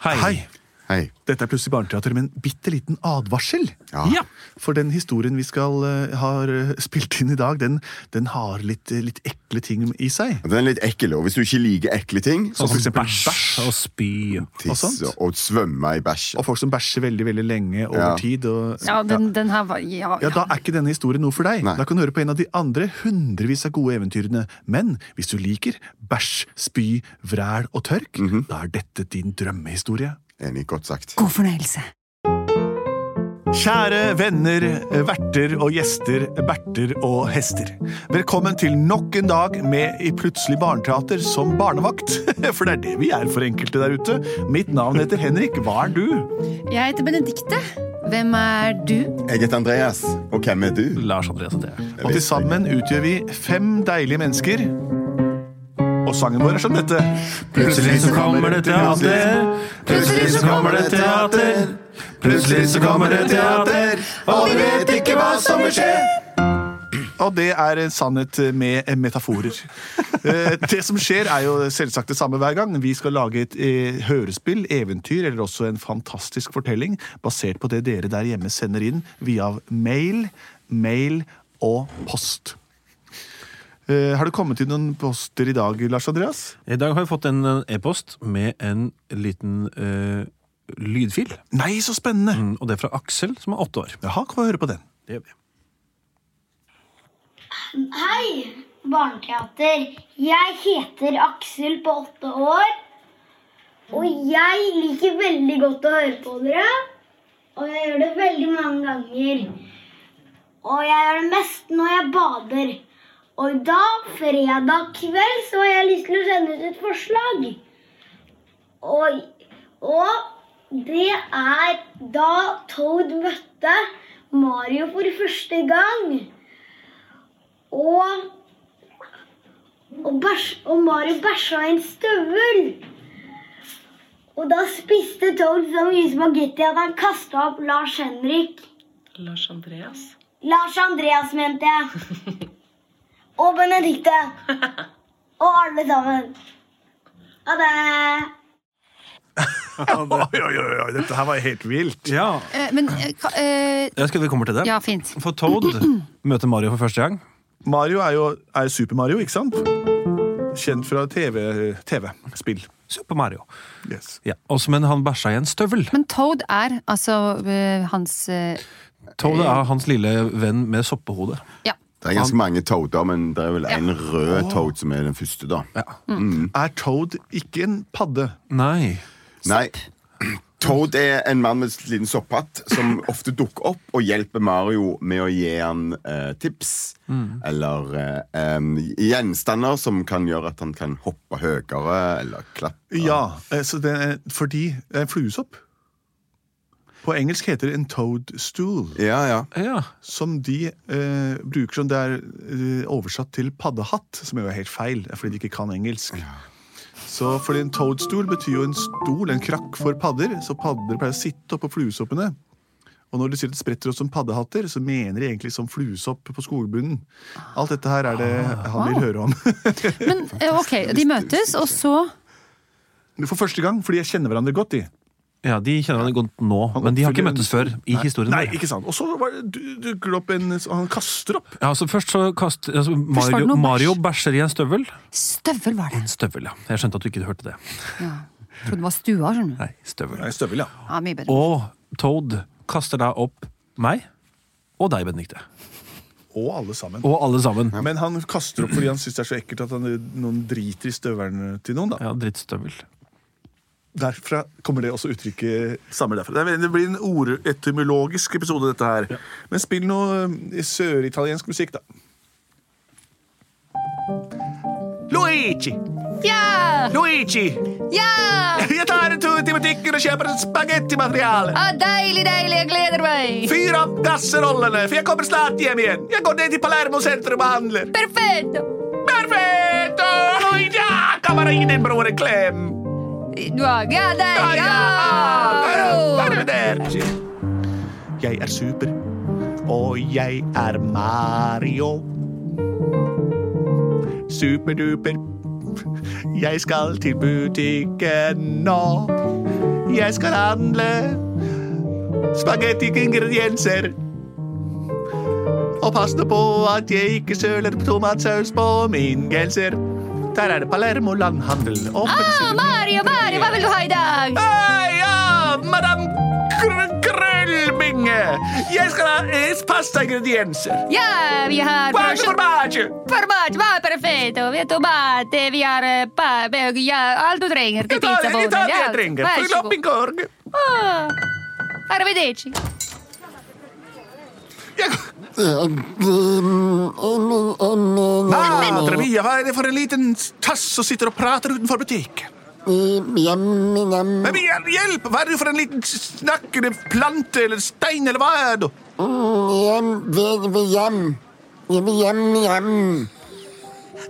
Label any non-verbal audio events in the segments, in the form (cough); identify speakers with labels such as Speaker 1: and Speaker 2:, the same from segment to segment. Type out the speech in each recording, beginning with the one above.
Speaker 1: Hei.
Speaker 2: Hei.
Speaker 3: Dette er plutselig barneteater, men bitte liten advarsel.
Speaker 2: Ja.
Speaker 1: Ja.
Speaker 3: For den historien vi skal eh, har eh, spilt inn i dag, den, den har litt, eh, litt ekle ting i seg.
Speaker 2: Den er litt ekkel, og hvis du ikke liker ekle ting
Speaker 3: Som for
Speaker 1: Sånn
Speaker 3: eksempel
Speaker 1: bæsj
Speaker 3: bæsj.
Speaker 1: og spy.
Speaker 3: og sånt.
Speaker 2: Tisse og svømme i bæsj.
Speaker 3: Og folk som bæsjer veldig veldig lenge over
Speaker 2: Ja.
Speaker 3: tid. Og,
Speaker 4: Ja, den, den her var ja,
Speaker 3: Ja, Da er ikke denne historien noe for deg.
Speaker 2: Nei.
Speaker 3: Da kan du høre på en av de andre hundrevis av gode eventyrene. Men hvis du liker bæsj, spy, vræl og tørk,
Speaker 2: Mhm.
Speaker 3: da er dette din drømmehistorie.
Speaker 2: Enig, godt sagt.
Speaker 4: God fornøyelse.
Speaker 3: Kjære venner, verter og gjester, berter og hester. Velkommen til nok en dag med i Plutselig barneteater som barnevakt. (laughs) For det er det vi er for enkelte der ute. Mitt navn heter Henrik. Hva er du?
Speaker 4: Jeg heter Benedikte. Hvem er du?
Speaker 2: Jeg heter Andreas, og hvem er du?
Speaker 1: Lars Andreas heter jeg.
Speaker 3: Og til sammen utgjør vi fem deilige mennesker. Og sangen vår er som dette.
Speaker 1: Plutselig så kommer det teater. Plutselig så kommer det teater. Plutselig så kommer det teater.
Speaker 2: og vi vet ikke hva som vil skje.
Speaker 3: Og det er en sannhet med (laughs) metaforer. Eh, Det som skjer, er jo selvsagt det samme hver gang. Vi skal lage et eh, hørespill, eventyr eller også en fantastisk fortelling basert på det dere der hjemme sender inn via mail, mail og post. Eh, Har det kommet inn noen poster i dag, Lars Andreas?
Speaker 1: I dag har vi fått en eh, e-post med en liten eh, lydfil.
Speaker 3: Nei, så spennende!
Speaker 1: Mm, Og det er fra Aksel, som er åtte år.
Speaker 3: Jaha, kan vi høre på den?
Speaker 1: Det gjør vi.
Speaker 5: Hei, barneteater. Jeg heter Aksel på åtte år. Og jeg liker veldig godt å høre på dere. Og jeg gjør det veldig mange ganger. Og jeg gjør det mest når jeg bader. Og i dag, fredag kveld, så har jeg lyst til å sende ut et forslag. Og, og det er da Toad møtte Mario for første gang. Og og, bæsj, og Mario bæsja i en støvel. Og da spiste Toad så mye spagetti at han kasta opp Lars Henrik.
Speaker 6: Lars Andreas.
Speaker 5: Lars Andreas, mente jeg. Og Benedicte. Og alle sammen. Ha det.
Speaker 3: Oi, oi, oi, oi, dette her var helt vilt.
Speaker 1: Ja.
Speaker 4: Eh, Men eh, ka- eh,
Speaker 1: Jeg skal vi kommer til det.
Speaker 4: Ja, fint.
Speaker 1: For
Speaker 4: (clears throat)
Speaker 1: Toad møter Mario for første gang.
Speaker 3: Mario er jo er Super Mario, ikke sant? Kjent fra TV-spill. TV, spill.
Speaker 1: Super Mario.
Speaker 3: yes.
Speaker 1: Ja. Også, men han bæsja i en støvel.
Speaker 4: Men Toad er altså eh, hans eh,
Speaker 1: Toad er hans lille venn med soppehode.
Speaker 4: Ja.
Speaker 2: Det er ganske mange toader, men det er vel en rød toad som er den første, da.
Speaker 1: Ja.
Speaker 3: Er Toad ikke en padde?
Speaker 1: Nei.
Speaker 2: Nei. Toad er en mann med en liten sopphatt som ofte dukker opp og hjelper Mario med å gi han eh, tips eller eh, em, gjenstander som kan gjøre at han kan hoppe høyere eller klatre.
Speaker 3: Ja, eh, så det er, fordi det er en fluesopp. På engelsk heter det en toadstool,
Speaker 2: Ja, ja.
Speaker 1: Ja.
Speaker 3: som de eh, bruker som det er eh, oversatt til paddehatt, som jo er helt feil, det er fordi de ikke kan engelsk. Så fordi en toadstool betyr jo en stol, en krakk for padder, så padder pleier å sitte oppå fluesoppene. Og når de sier at det spretter opp som paddehatter, så mener de egentlig som fluesopp på skogbunnen. Alt dette her er det han vil høre om. (laughs)
Speaker 4: Men eh, ok, de møtes, og så
Speaker 3: For første gang, fordi jeg kjenner hverandre godt, de.
Speaker 1: ja, De kjenner hverandre godt nå, men de har ikke møttes før i historien.
Speaker 3: Nei,
Speaker 1: vår.
Speaker 3: ikke sant. Og så var det- du- dukker det opp en Han kaster opp!
Speaker 1: Ja, altså først så kast, altså
Speaker 4: var det
Speaker 1: Mario,
Speaker 4: noe bæsj.
Speaker 1: Mario bæsjer i en støvel.
Speaker 4: Støvel var det.
Speaker 1: Støvel, ja. Jeg skjønte at du ikke hørte det.
Speaker 4: Ja. Jeg trodde det var stua, skjønner du.
Speaker 1: Nei, støvel.
Speaker 3: Nei, støvel, ja.
Speaker 4: Ja, mye bedre.
Speaker 1: Og Toad kaster da opp meg og deg, Benedikte.
Speaker 3: Og alle sammen.
Speaker 1: Og alle sammen.
Speaker 3: Men han kaster opp fordi han syns det er så ekkelt at han, noen driter i støvelen til noen. da.
Speaker 1: Ja, drittstøvel.
Speaker 3: Derfra kommer det også uttrykket Samme derfra. Det er- Det blir en ordetymologisk episode, dette her. Men spill noe eh, søritaliensk musikk, da. Luigi!
Speaker 4: Ja!
Speaker 3: Luigi!
Speaker 4: Ja!
Speaker 3: Jeg tar en tur til butikken og kjøper spagettimateriale.
Speaker 4: Ah, deilig, deilig, jeg gleder meg!
Speaker 3: Fyr opp dasserollene, for jeg kommer snart hjem igjen. Jeg går ned til Palermo sentrum og handler.
Speaker 4: Perfekt!
Speaker 3: Perfetto! Ja, kommer inn en bror en klem!
Speaker 4: Du har
Speaker 3: Ja,
Speaker 4: ja, deilig!
Speaker 3: ja!
Speaker 4: Ja!
Speaker 3: Arrivederci! Jeg er super, og jeg er Mario. Superduper. Jeg skal til butikken nå. jeg skal handle spagettiingredienser. Og passe på at jeg ikke søler tomatsaus på min genser. Der er det Palermo landhandel. Og
Speaker 4: Ah, Mario, Mario, hva vil du ha i dag?
Speaker 3: Hei, ja, madame Kr- Krøllbinge! Jeg skal ha es pastaingredienser.
Speaker 4: Ja, vi har
Speaker 3: Guarda
Speaker 4: prosjekt-
Speaker 3: formaggio!
Speaker 4: formaggio, va perfetto. Vi har tomate, vi har eh, pa, be- ja, alt du trenger til pizza.
Speaker 3: Italia, Italia trenger Floppikorg.
Speaker 4: Ah, Arrivederci.
Speaker 3: Madre mia, Ah, hva er det for en liten tass som sitter og prater utenfor butikk? Men hjel- hjelp, hva er du for en liten snakkende plante eller stein eller hva er du?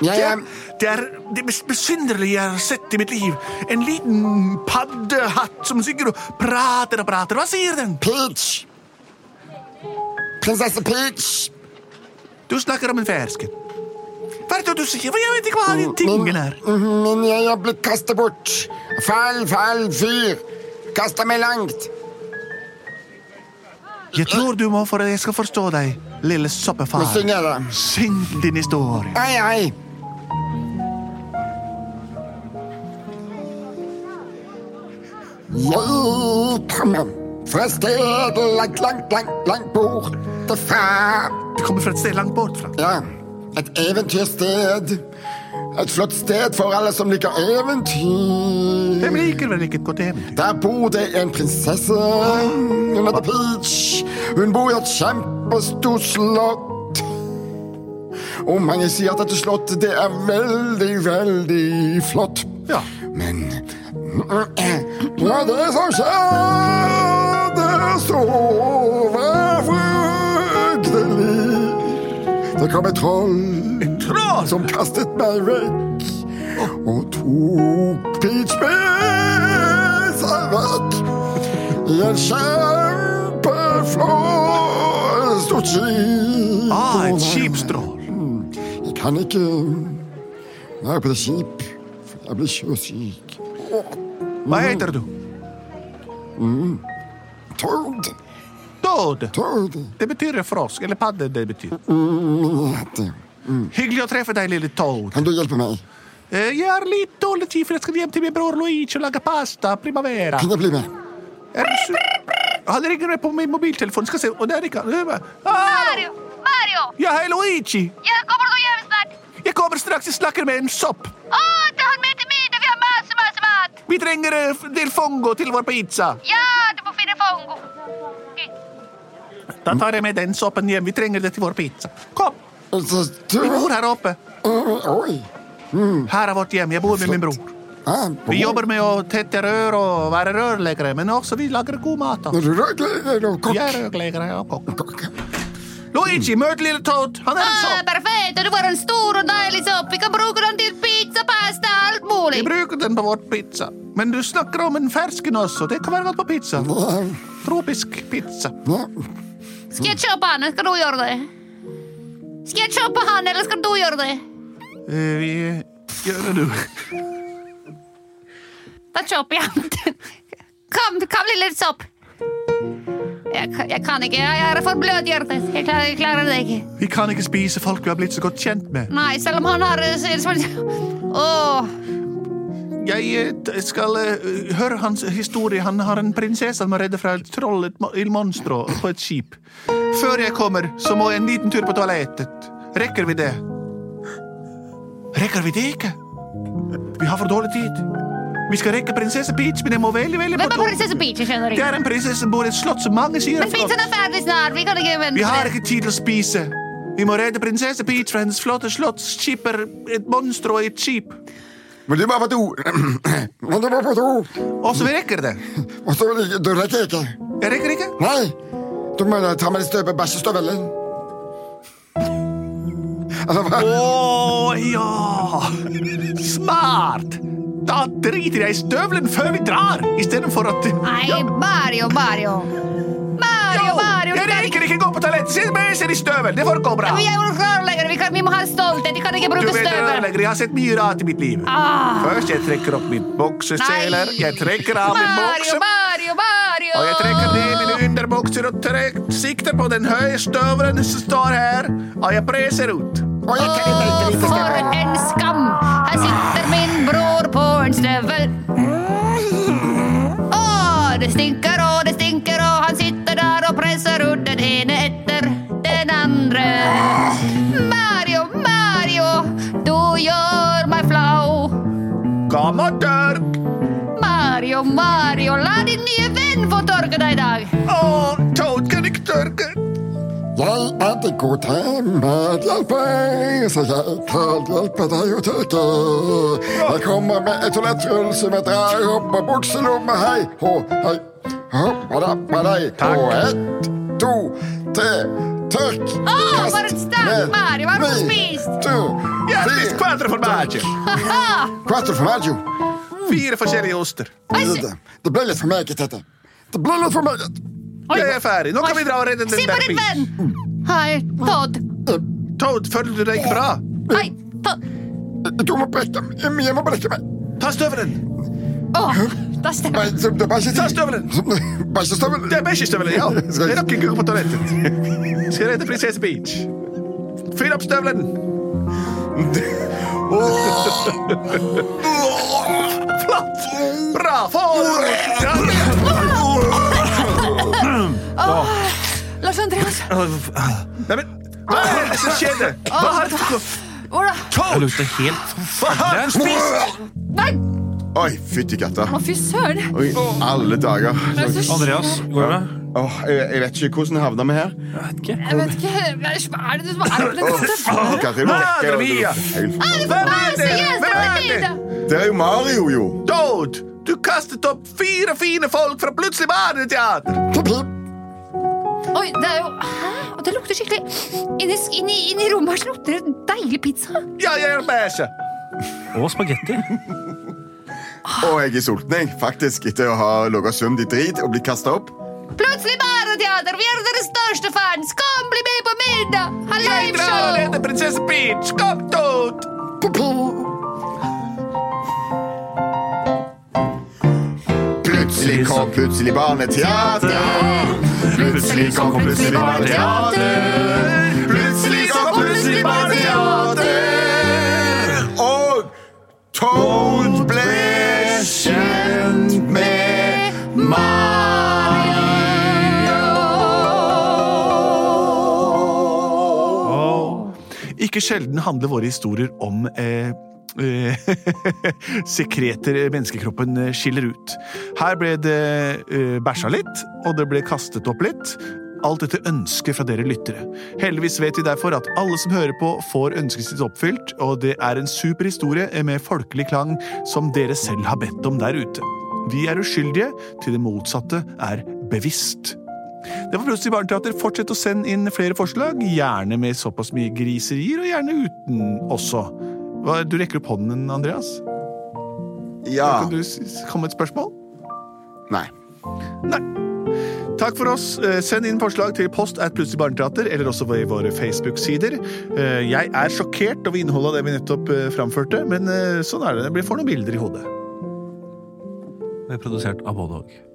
Speaker 3: Det er, det er det mest besynderlige jeg har sett i mitt liv. En liten paddehatt som sikkert prater og prater. Hva sier den?
Speaker 7: Peach. Prinsesse Peach.
Speaker 3: Du snakker om en fersken. Hva er det du sier? Jeg vet ikke hva de tingene er.
Speaker 7: Men jeg er blitt kastet bort. Feil, feil fyr. Kasta meg langt.
Speaker 3: Jeg tror du må for at jeg skal forstå deg, lille soppefar.
Speaker 7: Nå synger jeg det.
Speaker 3: Syng din historie.
Speaker 7: Hei, hei. Jeg kommer fra et sted langt, langt, langt, langt borte fra.
Speaker 3: Det kommer fra et sted langt bort fra.
Speaker 7: Ja, et eventyrsted. Et flott sted for alle som liker eventyr.
Speaker 3: Hvem liker vel ikke et godt eventyr?
Speaker 7: Der bor det en prinsesse. Hun er heter Peach. Hun bor i et kjempestort slott. Og mange sier at dette slottet det er veldig, veldig flott.
Speaker 3: Ja.
Speaker 7: Men ja, det som skjedde så var fryktelig. Det kom et troll
Speaker 3: Troll!
Speaker 7: som kastet meg vekk og tok Peach med seg vekk i en kjempeflott stort skip.
Speaker 3: Ah, et skipstrål.
Speaker 7: Jeg kan ikke være på det skip. for Jeg blir sjøsyk.
Speaker 3: Hva heter du?
Speaker 7: Tord,
Speaker 3: Toad.
Speaker 7: Tord
Speaker 3: Det betyr frosk, eller padde det betyr.
Speaker 7: heter jeg.
Speaker 3: Hyggelig å treffe deg, lille Toad.
Speaker 7: Kan du hjelpe meg?
Speaker 3: Eh, Jeg har litt dårlig tid, for jeg skal hjem til min bror Luigi og lage pasta primavera.
Speaker 7: Kan jeg bli med?
Speaker 3: Er du su- Han ringer meg på min mobiltelefon, skal se. Og det er ikke han. Ah,
Speaker 4: Mario, Mario,
Speaker 3: ja, hei, Luigi.
Speaker 4: jeg kommer du hjem snart.
Speaker 3: Jeg kommer straks, jeg snakker med en sopp.
Speaker 4: Å, ta han med til middag, vi har masse, masse mat.
Speaker 3: Vi trenger eh, f- del fongo til vår pizza.
Speaker 4: Ja, du må finne fongo.
Speaker 3: Da tar jeg med den soppen hjem. Vi trenger det til vår pizza. Kom,
Speaker 7: Altså,
Speaker 3: min
Speaker 7: Tord
Speaker 3: bor her oppe.
Speaker 7: Oi.
Speaker 3: Her er vårt hjem. Jeg bor med min bror.
Speaker 7: Ah,
Speaker 3: Vi jobber med å tette rør og være rørleggere, men også vi lager god mat. da.
Speaker 7: Er du rødgleder og
Speaker 3: Vi er
Speaker 7: kokk?
Speaker 3: rørleggere og kokk.
Speaker 7: Kokk.
Speaker 3: Luigi, møt lille Toad. Han er en
Speaker 4: Ah,
Speaker 3: sopp.
Speaker 4: perfetto, du var en stor og deilig sopp. Vi kan bruke den til pizza, pasta, alt mulig.
Speaker 3: Vi bruker den på vårt pizza. Men du snakker om en fersken også. Det kan være godt på pizza.
Speaker 7: Ja,
Speaker 3: Tropisk pizza.
Speaker 7: ja.
Speaker 4: Skal jeg kjøpe han, eller skal du gjøre det? Skal jeg kjøpe han, eller skal du gjøre det?
Speaker 3: Eh, vi gjør det, du.
Speaker 4: Da kjøper jeg den. Kom, kom lille sopp. Jeg, kan- jeg kan ikke, jeg er for bløt i hjertet. Jeg klarer, jeg klarer det ikke.
Speaker 3: Vi kan ikke spise folk vi har blitt så godt kjent med.
Speaker 4: Nei, selv om han har eh, så- så- Åh,
Speaker 3: Jeg eh, t- skal eh, høre hans historie. Han har en prinsesse han må redde fra et troll, et mo- ildmonstro, på et skip. Før jeg kommer, så må jeg en liten tur på toalettet. Rekker vi det? Rekker vi det ikke? Vi har for dårlig tid. Vi skal rekke prinsesse Peach, men jeg må veldig, veldig
Speaker 4: Hvem
Speaker 3: på
Speaker 4: er
Speaker 3: do.
Speaker 4: prinsesse Peach? Jeg skjønner
Speaker 3: Det
Speaker 4: ikke.
Speaker 3: er en prinsesse som bor i et slott som mange sier
Speaker 4: Men
Speaker 3: er flott.
Speaker 4: pizzaen er ferdig snart. Vi kan ikke vente.
Speaker 3: Vi har
Speaker 4: på det.
Speaker 3: ikke tid til å spise. Vi må redde prinsesse Peach fra hennes flotte slott. Skipper et monster og et skip.
Speaker 7: Men du må på do. (clears throat) Men du må på do.
Speaker 3: Og så vi rekker det.
Speaker 7: Og så du rekker ikke.
Speaker 3: Jeg rekker ikke.
Speaker 7: Nei, du må ta med deg støpe bæsjestøvelen. Eller hva?
Speaker 3: Å Oh, ja! Smart! Da driter jeg i støvelen før vi drar, istedenfor at
Speaker 4: Nei, Mario, Mario. Mario,
Speaker 3: Jo,
Speaker 4: Mario,
Speaker 3: jeg Dere rekker ikke gå på toalettet! Se meg ser i støvel! Det får gå bra.
Speaker 4: Vi er rørleggere, vi, kan- vi må ha stolthet. De kan ikke
Speaker 3: Du
Speaker 4: bruke
Speaker 3: vet,
Speaker 4: støvel.
Speaker 3: rørlegger, jeg har sett mye rart i mitt liv.
Speaker 4: Ah,
Speaker 3: Først jeg trekker opp min bokseseler,
Speaker 4: Nei.
Speaker 3: jeg trekker av min
Speaker 4: Mario,
Speaker 3: bokse,
Speaker 4: Mario, Mario!
Speaker 3: og jeg trekker ned mine underbukser og trek, sikter på den høye støvelen som står her, og jeg presser ut.
Speaker 7: Og jeg kan ikke
Speaker 4: Å,
Speaker 7: hente lite
Speaker 4: for
Speaker 7: støvel.
Speaker 4: en skam! Her sitter min bror på en støvel. Å, det stinker og det stinker, og han sitter der og presser ut den ene etter den andre. Mario, Mario, du gjør meg flau.
Speaker 3: Kom og tørk!
Speaker 4: Mario, Mario, la din nye venn få tørke deg i dag.
Speaker 3: Å, Toad Oh, kan ikke tørke.
Speaker 7: Jeg er den gode medhjelper, så jeg kan hjelpe deg å tørke. Jeg kommer med et toalettrull som jeg drar opp av bukselommet. Hei, hå, hei, hå, hva med deg? Og ett, to, tre, tørk.
Speaker 4: Å, for en sterk Mario, hva har du spist?
Speaker 7: To,
Speaker 3: Jeg har spist
Speaker 7: fire,
Speaker 3: quattro formaggi.
Speaker 7: quattro formaggio.
Speaker 3: Fire forskjellige oster.
Speaker 4: Oi, se-
Speaker 7: Det det ble litt for meget, dette. Det ble litt for meget.
Speaker 4: oi.
Speaker 3: Jeg er ferdig. Nå kan vi dra og redde
Speaker 4: Se
Speaker 3: den
Speaker 4: på
Speaker 3: der
Speaker 4: din
Speaker 3: bilen.
Speaker 4: venn. Hei, Todd.
Speaker 7: Eh,
Speaker 3: Toad, føler du deg ikke bra?
Speaker 4: Hei, Todd.
Speaker 7: Du må brekke meg. Jeg må brekke meg.
Speaker 3: Ta støvelen.
Speaker 4: Å, da stemmer
Speaker 7: Nei, det- det er bæsjet-
Speaker 3: Ta støvelen.
Speaker 7: (laughs) Bæsjestøvelen.
Speaker 3: Det er bæsjestøvelen, ja. Det er nok ikke på toalettet. Skal jeg redde prinsesse Peach? Fyll opp støvelen. (laughs) Flott! Bra! Få
Speaker 4: Lars Andreas,
Speaker 3: Neimen, hva er det som skjedde? Hva har
Speaker 4: hvordan
Speaker 1: Det
Speaker 3: Toad,
Speaker 1: lukter helt
Speaker 3: hva har du spist?
Speaker 4: Nei,
Speaker 2: Oi, fytti katta.
Speaker 4: å fy søren!
Speaker 2: Oi, alle dager.
Speaker 4: Hva er det som skjer?
Speaker 1: Andreas, går det bra?
Speaker 2: Åh, jeg, jeg vet ikke hvordan havna vi her.
Speaker 1: Jeg vet ikke.
Speaker 4: Jeg vet ikke Hva er det som er med dette
Speaker 2: Åh,
Speaker 4: støvlet?
Speaker 2: Katrine,
Speaker 3: Madre
Speaker 2: det er jo-
Speaker 3: mia!
Speaker 2: Helt-
Speaker 3: Hvem er det? Hvem er det?
Speaker 4: Hvem
Speaker 2: Det er jo Mario, jo.
Speaker 3: Toad, du kastet opp fire fine folk fra plutselig barneteater.
Speaker 7: Pip, pip.
Speaker 4: Oi, det er jo Hæ? Og det lukter skikkelig Inni, inni, inni rommet her så lukter det deilig pizza.
Speaker 3: Ja, jeg er bæsje.
Speaker 1: Og spagetti.
Speaker 2: Og jeg er sulten, jeg, faktisk, etter å ha ligget svømt i drit og blitt kasta opp.
Speaker 4: Plutselig barneteater! Vi er deres største fans! Kom, bli med på middag! Ha
Speaker 3: Jeg drar og
Speaker 4: liveshow!
Speaker 3: leder prinsesse Peach. Kom, Toad.
Speaker 2: Plutselig kom plutselig barneteater. Plutselig kom plutselig barneteater. Plutselig kom plutselig barneteater. Og Toad ble kjent med Mario.
Speaker 3: Ikke sjelden handler våre historier om eh, eh, (laughs) sekreter menneskekroppen eh, skiller ut. Her ble det eh, bæsja litt, og det ble kastet opp litt. Alt etter ønske fra dere lyttere. Heldigvis vet vi derfor at alle som hører på, får ønsket sitt oppfylt, og det er en super historie med folkelig klang som dere selv har bedt om der ute. Vi er uskyldige til det motsatte er bevisst. Det var Plutselig barneteater. Fortsett å sende inn flere forslag, gjerne med såpass mye griserier, og gjerne uten også. Hva, du rekker opp hånden, Andreas.
Speaker 2: Ja.
Speaker 3: Kan du s- s- komme med et spørsmål?
Speaker 2: Nei.
Speaker 3: Takk for oss. Eh, Send inn forslag til post at Plutselig barneteater, eller også i våre Facebook-sider. Eh, Jeg er sjokkert over innholdet av det vi nettopp eh, framførte, men eh, sånn er det. Det blir for noen bilder i hodet.
Speaker 1: Det er produsert av både og.